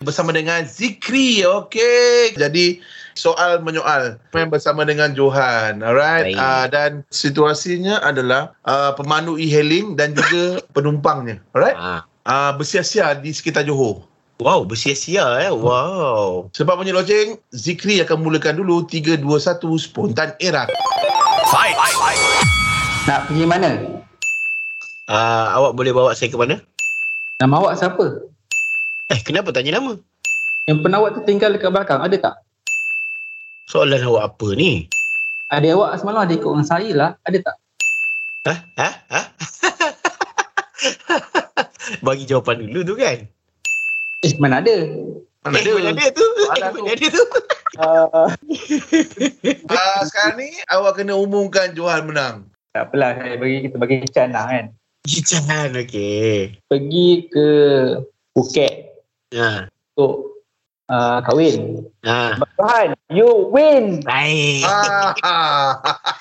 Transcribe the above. bersama dengan Zikri. Okey. Jadi soal menyoal main bersama dengan Johan. Alright. Baik. Uh, dan situasinya adalah uh, pemandu e-hailing dan juga penumpangnya. Alright. Ah. Uh, bersia-sia di sekitar Johor. Wow, bersia-sia eh. Wow. Sebab punya loceng, Zikri akan mulakan dulu 3 2 1 spontan era. Nak pergi mana? Ah, awak boleh bawa saya ke mana? Nama awak siapa? Eh, kenapa tanya nama? Yang pernah awak tertinggal dekat belakang ada tak? Soalan awak apa ni? Adik awak semalam ada ikut dengan saya lah. Ada tak? Ha? Ha? Ha? Bagi jawapan dulu tu kan. Eh mana ada? Mana eh, mana ada? dia tu? Eh, Soalan tu. mana dia tu? Uh, Uh, sekarang ni awak kena umumkan Johan menang. tak apalah saya bagi kita bagi can lah kan. Jangan, okey. Pergi ke Phuket Ha. untuk uh, kahwin. Ha. Bahan, you win. Baik. Ah,